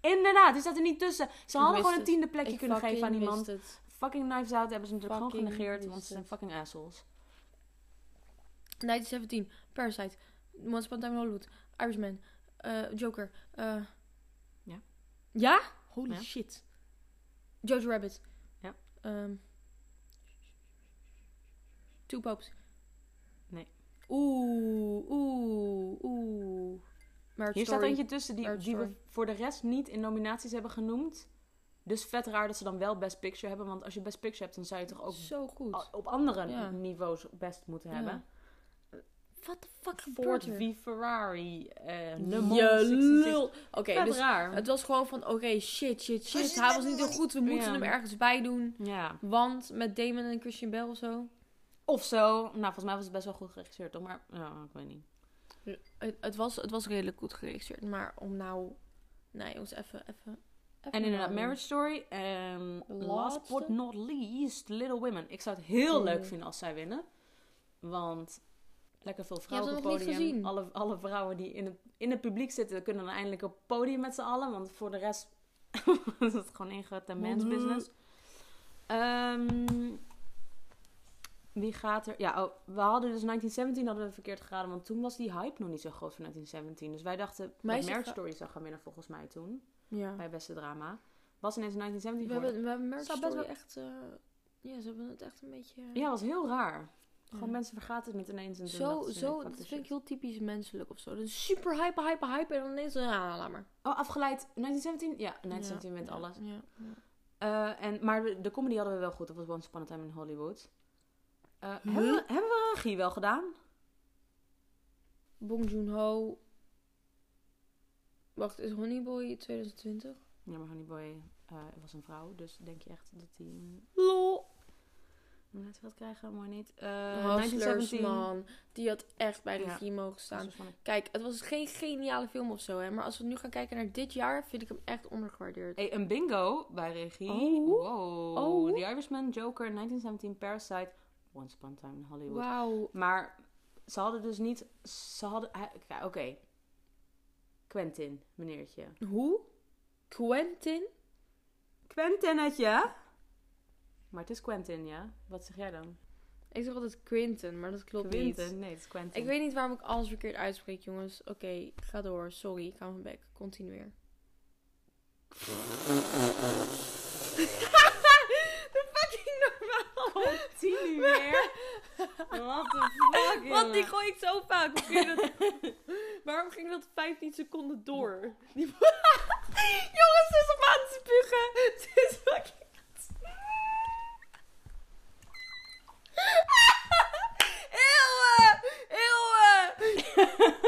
Speaker 2: Inderdaad, die staat er niet tussen. Ze hadden
Speaker 1: mist
Speaker 2: gewoon een
Speaker 1: het.
Speaker 2: tiende plekje
Speaker 1: Ik
Speaker 2: kunnen geven aan
Speaker 1: fucking
Speaker 2: iemand.
Speaker 1: mist het.
Speaker 2: Fucking Knives Out hebben ze natuurlijk gewoon
Speaker 1: Fucking
Speaker 2: genegeerd.
Speaker 1: mist
Speaker 2: Want ze zijn
Speaker 1: het.
Speaker 2: fucking assholes.
Speaker 1: Night 17, Parasite, Once Upon a Time in Hollywood, Irishman, eh, Joker. eh.
Speaker 2: Ja.
Speaker 1: Ja? Holy
Speaker 2: Ja.
Speaker 1: shit. Jojo Rabbit.
Speaker 2: Ja.
Speaker 1: Ehm, Two Popes.
Speaker 2: Nee.
Speaker 1: Oeh, oeh, oeh. Maar
Speaker 2: Hier staat eentje tussen die,
Speaker 1: Marriage
Speaker 2: die we
Speaker 1: Story.
Speaker 2: voor de rest niet in nominaties hebben genoemd. Dus vet raar dat ze dan wel Best Picture hebben. Want als je Best Picture hebt, dan zou je toch ook
Speaker 1: Zo goed.
Speaker 2: a- op andere
Speaker 1: Ja.
Speaker 2: niveaus best moeten
Speaker 1: Ja.
Speaker 2: hebben.
Speaker 1: What the fuck
Speaker 2: Ford
Speaker 1: gebeurt er?
Speaker 2: v Ferrari. eh nummer
Speaker 1: Je
Speaker 2: 66.
Speaker 1: lul. Oké,
Speaker 2: Vet
Speaker 1: dus
Speaker 2: raar.
Speaker 1: het was gewoon van, oké, shit, shit, shit.
Speaker 2: zit
Speaker 1: Hij
Speaker 2: er
Speaker 1: was niet
Speaker 2: nog
Speaker 1: heel goed, we moeten
Speaker 2: Ja.
Speaker 1: hem ergens bij doen.
Speaker 2: Ja.
Speaker 1: Want met Damon en Christian Bell of zo.
Speaker 2: Of zo. Nou, volgens mij was het best wel goed geregisseerd, toch? Maar ja, ik weet niet.
Speaker 1: Het, het was, het was redelijk goed geregisseerd. Maar om nou... Nee jongens, even... even, even
Speaker 2: En inderdaad,
Speaker 1: nou-
Speaker 2: Marriage Story. En last
Speaker 1: laatste.
Speaker 2: but not least, Little Women. Ik zou het heel
Speaker 1: Mm.
Speaker 2: leuk vinden als zij winnen. Want lekker veel
Speaker 1: Je hebt
Speaker 2: vrouwen op
Speaker 1: het
Speaker 2: het
Speaker 1: nog niet
Speaker 2: podium.
Speaker 1: gezien.
Speaker 2: Alle, alle vrouwen die in het, in het publiek zitten, kunnen dan eindelijk op het podium met z'n allen. Want voor de rest is het gewoon één grote
Speaker 1: Mannen.
Speaker 2: mensbusiness. Ehm, wie gaat er... Ja, oh, we hadden dus 1917 hadden we verkeerd geraden. Want toen was die hype nog niet zo groot van 1917. Dus wij dachten dat
Speaker 1: Meisjes
Speaker 2: Marriage
Speaker 1: ga-
Speaker 2: Story zou gaan winnen volgens mij toen
Speaker 1: Ja.
Speaker 2: bij beste drama. Was ineens 1917
Speaker 1: We
Speaker 2: geworden.
Speaker 1: hebben, we hebben Marriage
Speaker 2: Zou best
Speaker 1: Story
Speaker 2: wel-
Speaker 1: echt... eh, ja, ze hebben het echt een beetje...
Speaker 2: Ja, was heel raar. Gewoon
Speaker 1: Ja.
Speaker 2: mensen vergaat het niet ineens. En doen
Speaker 1: Zo,
Speaker 2: dat,
Speaker 1: zo, dat vind ik heel typisch menselijk of zo. Dat is super hype, hype, hype. En dan ineens, ja, laat maar.
Speaker 2: Oh, afgeleid. 1917? Ja, 1917 wint
Speaker 1: Ja,
Speaker 2: alles.
Speaker 1: Ja, ja.
Speaker 2: Eh, en, maar de, de comedy hadden we wel goed. Dat was Once Upon a Time in Hollywood. Eh,
Speaker 1: Huh?
Speaker 2: hebben, we, hebben we regie wel gedaan?
Speaker 1: Bong Joon-ho. Wacht, is Honeyboy 2020?
Speaker 2: Ja, maar Honeyboy eh was een vrouw. Dus denk je echt dat hij
Speaker 1: Lol.
Speaker 2: net gaat krijgen? Mooi niet. Eh
Speaker 1: Hustlers,
Speaker 2: 1917.
Speaker 1: man. Die had echt bij de
Speaker 2: Ja.
Speaker 1: vier mogen
Speaker 2: Dat
Speaker 1: staan.
Speaker 2: was van een-
Speaker 1: Kijk, het was geen geniale film of zo, hè. Maar als we nu gaan kijken naar dit jaar, vind ik hem echt ondergewaardeerd.
Speaker 2: Hey, een bingo bij regie.
Speaker 1: Oh.
Speaker 2: Wow.
Speaker 1: Oh.
Speaker 2: The Irishman, Joker, 1917, Parasite, Once Upon a Time in Hollywood.
Speaker 1: Wauw.
Speaker 2: Maar ze hadden dus niet. Ze hadden. hij- ja, Oké. Quentin, meneertje.
Speaker 1: Hoe? Quentin?
Speaker 2: Quentinnetje? Maar het is Quentin, ja? Wat zeg jij dan?
Speaker 1: Ik zeg altijd Quentin, maar dat klopt niet.
Speaker 2: Quentin? Nee, het is Quentin.
Speaker 1: Ik weet niet waarom ik alles verkeerd uitspreek, jongens. Oké, ga door. Sorry, ik hou mijn bek. Continueer. De fucking normaal.
Speaker 2: Continueer? What the fuck,
Speaker 1: Want die
Speaker 2: jongen?
Speaker 1: gooi ik zo vaak. Hoe kun je dat... waarom ging dat 15 seconden door? Die... jongens, ze is op aan het spugen. Ze is fucking... Eeuwen! Eeuwen!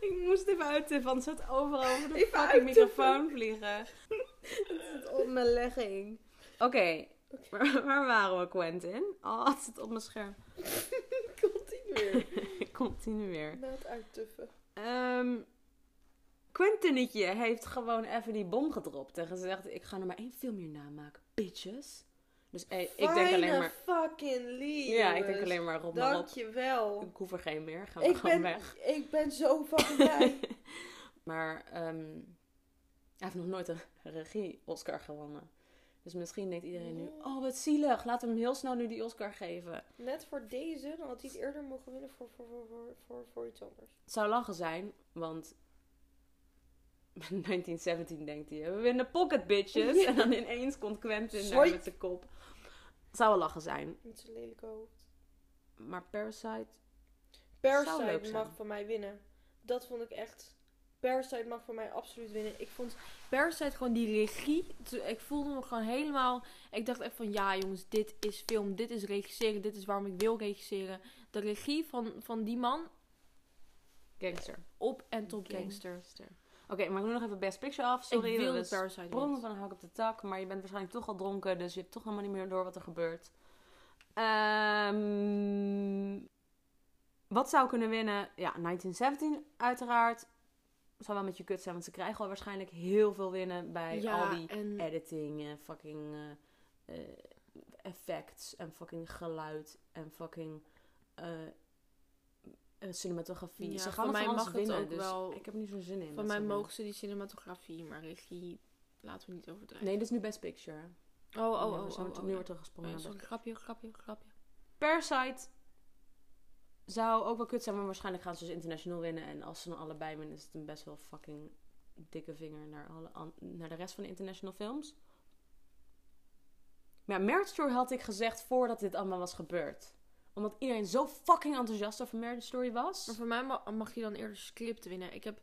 Speaker 2: Ik moest even uittippen, want het zat overal over de
Speaker 1: Even uittippen.
Speaker 2: fucking microfoon vliegen. Het zit op mijn legging. Oké, waar, waar waren we, Quentin? Oh, het zit op mijn scherm.
Speaker 1: Continueer.
Speaker 2: Continueer.
Speaker 1: Na het uittuffen.
Speaker 2: Ehm Quentinetje heeft gewoon even die bom gedropt. En gezegd, ik ga er maar één film hierna maken. Bitches. Dus eh, ik denk alleen maar...
Speaker 3: fucking lief.
Speaker 2: Ja, ik denk alleen maar op maar op.
Speaker 3: Dankjewel.
Speaker 2: Ik hoef er geen meer. Ga maar
Speaker 3: Ik
Speaker 2: gewoon
Speaker 3: ben,
Speaker 2: weg.
Speaker 3: ik ben zo fucking blij.
Speaker 2: Maar ehm, hij heeft nog nooit een regie-Oscar gewonnen. Dus misschien denkt iedereen nu...
Speaker 3: Ja.
Speaker 2: Oh, wat zielig. Laat hem heel snel nu die Oscar geven.
Speaker 3: Net voor deze, dan had hij het eerder mogen winnen voor, voor, voor, voor, voor, voor iets anders.
Speaker 2: Het zou lachen zijn, want... 1917 denkt hij, we winnen pocket bitches. En dan ineens komt Quentin daar
Speaker 3: Zoik.
Speaker 2: met zijn kop. Het zou wel lachen zijn.
Speaker 3: Met zijn lelijke hoofd.
Speaker 2: Maar Parasite... leuk
Speaker 3: Parasite
Speaker 2: zijn.
Speaker 3: mag van mij winnen. Dat vond ik echt... Parasite mag voor mij absoluut winnen. Ik vond...
Speaker 1: Parasite, gewoon die regie. Toen- Ik voelde me gewoon helemaal... Ik dacht echt van, ja jongens, dit is film. Dit is regisseren. Dit is waarom ik wil regisseren. De regie van, van die man
Speaker 2: Gangster.
Speaker 1: op en top
Speaker 2: Gang.
Speaker 1: gangster.
Speaker 2: Oké, maar ik doe nog even Best Picture af. Sorry,
Speaker 1: ik wilde
Speaker 2: dat is
Speaker 1: Parasite
Speaker 2: sprongen
Speaker 1: niet.
Speaker 2: van een hak op de tak. Maar je bent waarschijnlijk toch al dronken, dus je hebt toch helemaal niet meer door wat er gebeurt. Ehm, wat zou kunnen winnen? Ja, 1917 uiteraard. Zou wel met je kut zijn, want ze krijgen al waarschijnlijk heel veel winnen bij al die
Speaker 1: en
Speaker 2: editing en fucking eh, eh, effects en fucking geluid en fucking eh, eh, cinematografie.
Speaker 1: Ja,
Speaker 2: ze
Speaker 1: van
Speaker 2: gaan het
Speaker 1: mij
Speaker 2: van alles
Speaker 1: mag het
Speaker 2: winnen,
Speaker 1: ook
Speaker 2: dus
Speaker 1: wel-
Speaker 2: ik heb er niet zo'n zin in. dat
Speaker 1: van mij
Speaker 2: ze winnen.
Speaker 1: mogen ze die cinematografie, maar regie laten we niet overdrijven.
Speaker 2: Nee, dit is nu Best Picture. hè.
Speaker 1: Oh, oh,
Speaker 2: Nu
Speaker 1: oh.
Speaker 2: wordt-
Speaker 1: oh,
Speaker 2: zo wordt-
Speaker 1: oh,
Speaker 2: nu
Speaker 1: ja.
Speaker 2: wordt er gesprongen.
Speaker 1: Oh,
Speaker 2: naar
Speaker 1: sorry,
Speaker 2: Best-
Speaker 1: grapje, grapje, grapje.
Speaker 2: Parasite zou ook wel kut zijn, maar waarschijnlijk gaan ze dus international winnen. En als ze dan allebei winnen, is het een best wel fucking dikke vinger naar, alle an- naar de rest van de international films. Maar ja, Marriage Story had ik gezegd voordat dit allemaal was gebeurd. Omdat iedereen zo fucking enthousiast over Marriage Story was.
Speaker 1: Maar voor mij ma- mag je dan eerder script winnen. Ik heb,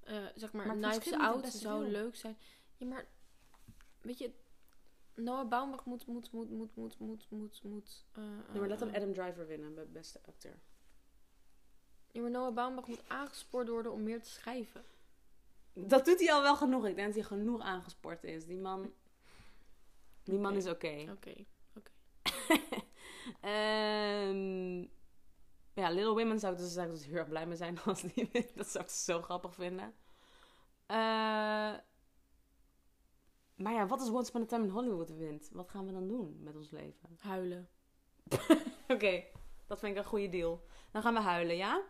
Speaker 1: eh, zeg maar,
Speaker 2: Maar ik vind
Speaker 1: Knives
Speaker 2: script niet de
Speaker 1: Out
Speaker 2: beste
Speaker 1: zou
Speaker 2: film.
Speaker 1: leuk zijn. Ja, maar, weet je, Noah Baumbach moet, moet, moet, moet, moet, moet, moet, moet... eh,
Speaker 2: Nee, maar laat dan
Speaker 1: eh,
Speaker 2: Adam Driver winnen bij beste acteur.
Speaker 1: Ja, maar Noah Baumbach moet aangespoord worden om meer te schrijven.
Speaker 2: Dat doet hij al wel genoeg. Ik denk dat hij genoeg aangesport is. Die man, die man
Speaker 1: Oké.
Speaker 2: is oké.
Speaker 1: Oké.
Speaker 2: Ehm ja, Little Women zou ik, dus, zou ik dus heel erg blij mee zijn als die wint. Dat zou ik zo grappig vinden. Eh, maar ja, wat als Once Upon a Time in Hollywood wint? Wat gaan we dan doen met ons leven?
Speaker 1: Huilen.
Speaker 2: Oké, dat vind ik een goede deal. Dan gaan we huilen, ja?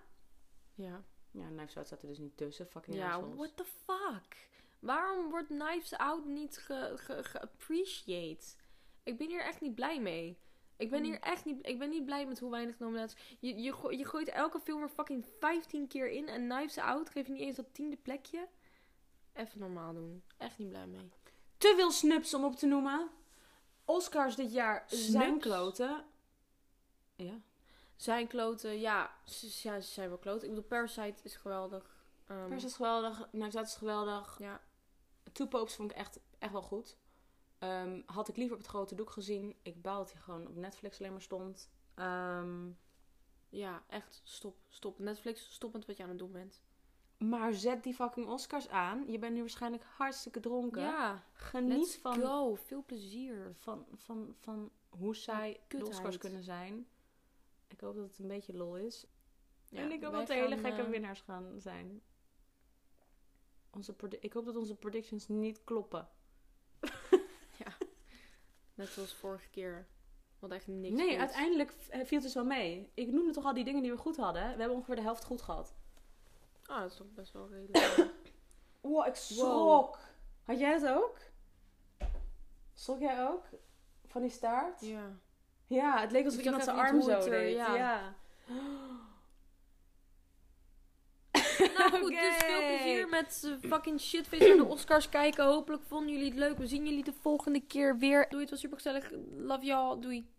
Speaker 1: Ja.
Speaker 2: Ja, Knives Out staat er dus niet tussen. Fucking
Speaker 1: Ja,
Speaker 2: assholes.
Speaker 1: what the fuck? Waarom wordt Knives Out niet ge- ge- geappreciate? ik ben hier echt niet blij mee. Ik
Speaker 2: Hmm.
Speaker 1: ben hier echt niet, ik ben niet blij met hoe weinig nominaties. Je, je, goo- je gooit elke film er fucking 15 keer in en Knives Out geeft niet eens dat tiende plekje. Even normaal doen. Echt niet blij mee.
Speaker 2: Te veel snups om op te noemen. Oscars dit jaar zijn
Speaker 1: Snups?
Speaker 2: kloten. Ja.
Speaker 1: Zijn kloten, ja ze, ja, ze zijn wel kloten. Ik bedoel, Parasite is geweldig. Ehm,
Speaker 2: Pers is geweldig, Navidad is geweldig.
Speaker 1: Ja.
Speaker 2: Two Popes vond ik echt, echt wel goed. Ehm, had ik liever op het grote doek gezien. Ik baal dat hij gewoon op Netflix alleen maar stond. Ehm,
Speaker 1: ja, echt, stop, stop. Netflix, stop met wat je aan het doen bent.
Speaker 2: maar zet die fucking Oscars aan. Je bent nu waarschijnlijk hartstikke dronken.
Speaker 1: Ja,
Speaker 2: Geniet
Speaker 1: let's
Speaker 2: van,
Speaker 1: go. Veel plezier.
Speaker 2: van, van, van hoe saai de
Speaker 1: kutheid.
Speaker 2: Oscars kunnen zijn. Ik hoop dat het een beetje lol is.
Speaker 1: Ja,
Speaker 2: en ik hoop
Speaker 1: wij
Speaker 2: dat er hele
Speaker 1: gaan,
Speaker 2: gekke
Speaker 1: eh,
Speaker 2: winnaars gaan zijn. Onze predi- ik hoop dat onze predictions niet kloppen.
Speaker 1: Net zoals vorige keer. Wat echt niks
Speaker 2: nee,
Speaker 1: goed.
Speaker 2: uiteindelijk v- eh, viel het dus wel mee. Ik noemde toch al die dingen die we goed hadden. We hebben ongeveer de helft goed gehad.
Speaker 1: Ah, dat is toch best wel redelijk.
Speaker 2: Wow, ik
Speaker 1: schrok.
Speaker 2: Had jij dat ook? Schrok jij ook? Van die staart? Ja,
Speaker 1: ja.
Speaker 2: het leek alsof
Speaker 1: Ik
Speaker 2: iemand
Speaker 1: zag
Speaker 2: zijn
Speaker 1: even
Speaker 2: arm
Speaker 1: niet hoe
Speaker 2: zo
Speaker 1: het er-
Speaker 2: deed.
Speaker 1: ja.
Speaker 2: eh, ja.
Speaker 1: Nou goed, dus veel plezier met eh, fucking shitface en de Oscars kijken. Hopelijk vonden jullie het leuk. We zien jullie de volgende keer weer. Doei, het was super gezellig. Love y'all. Doei.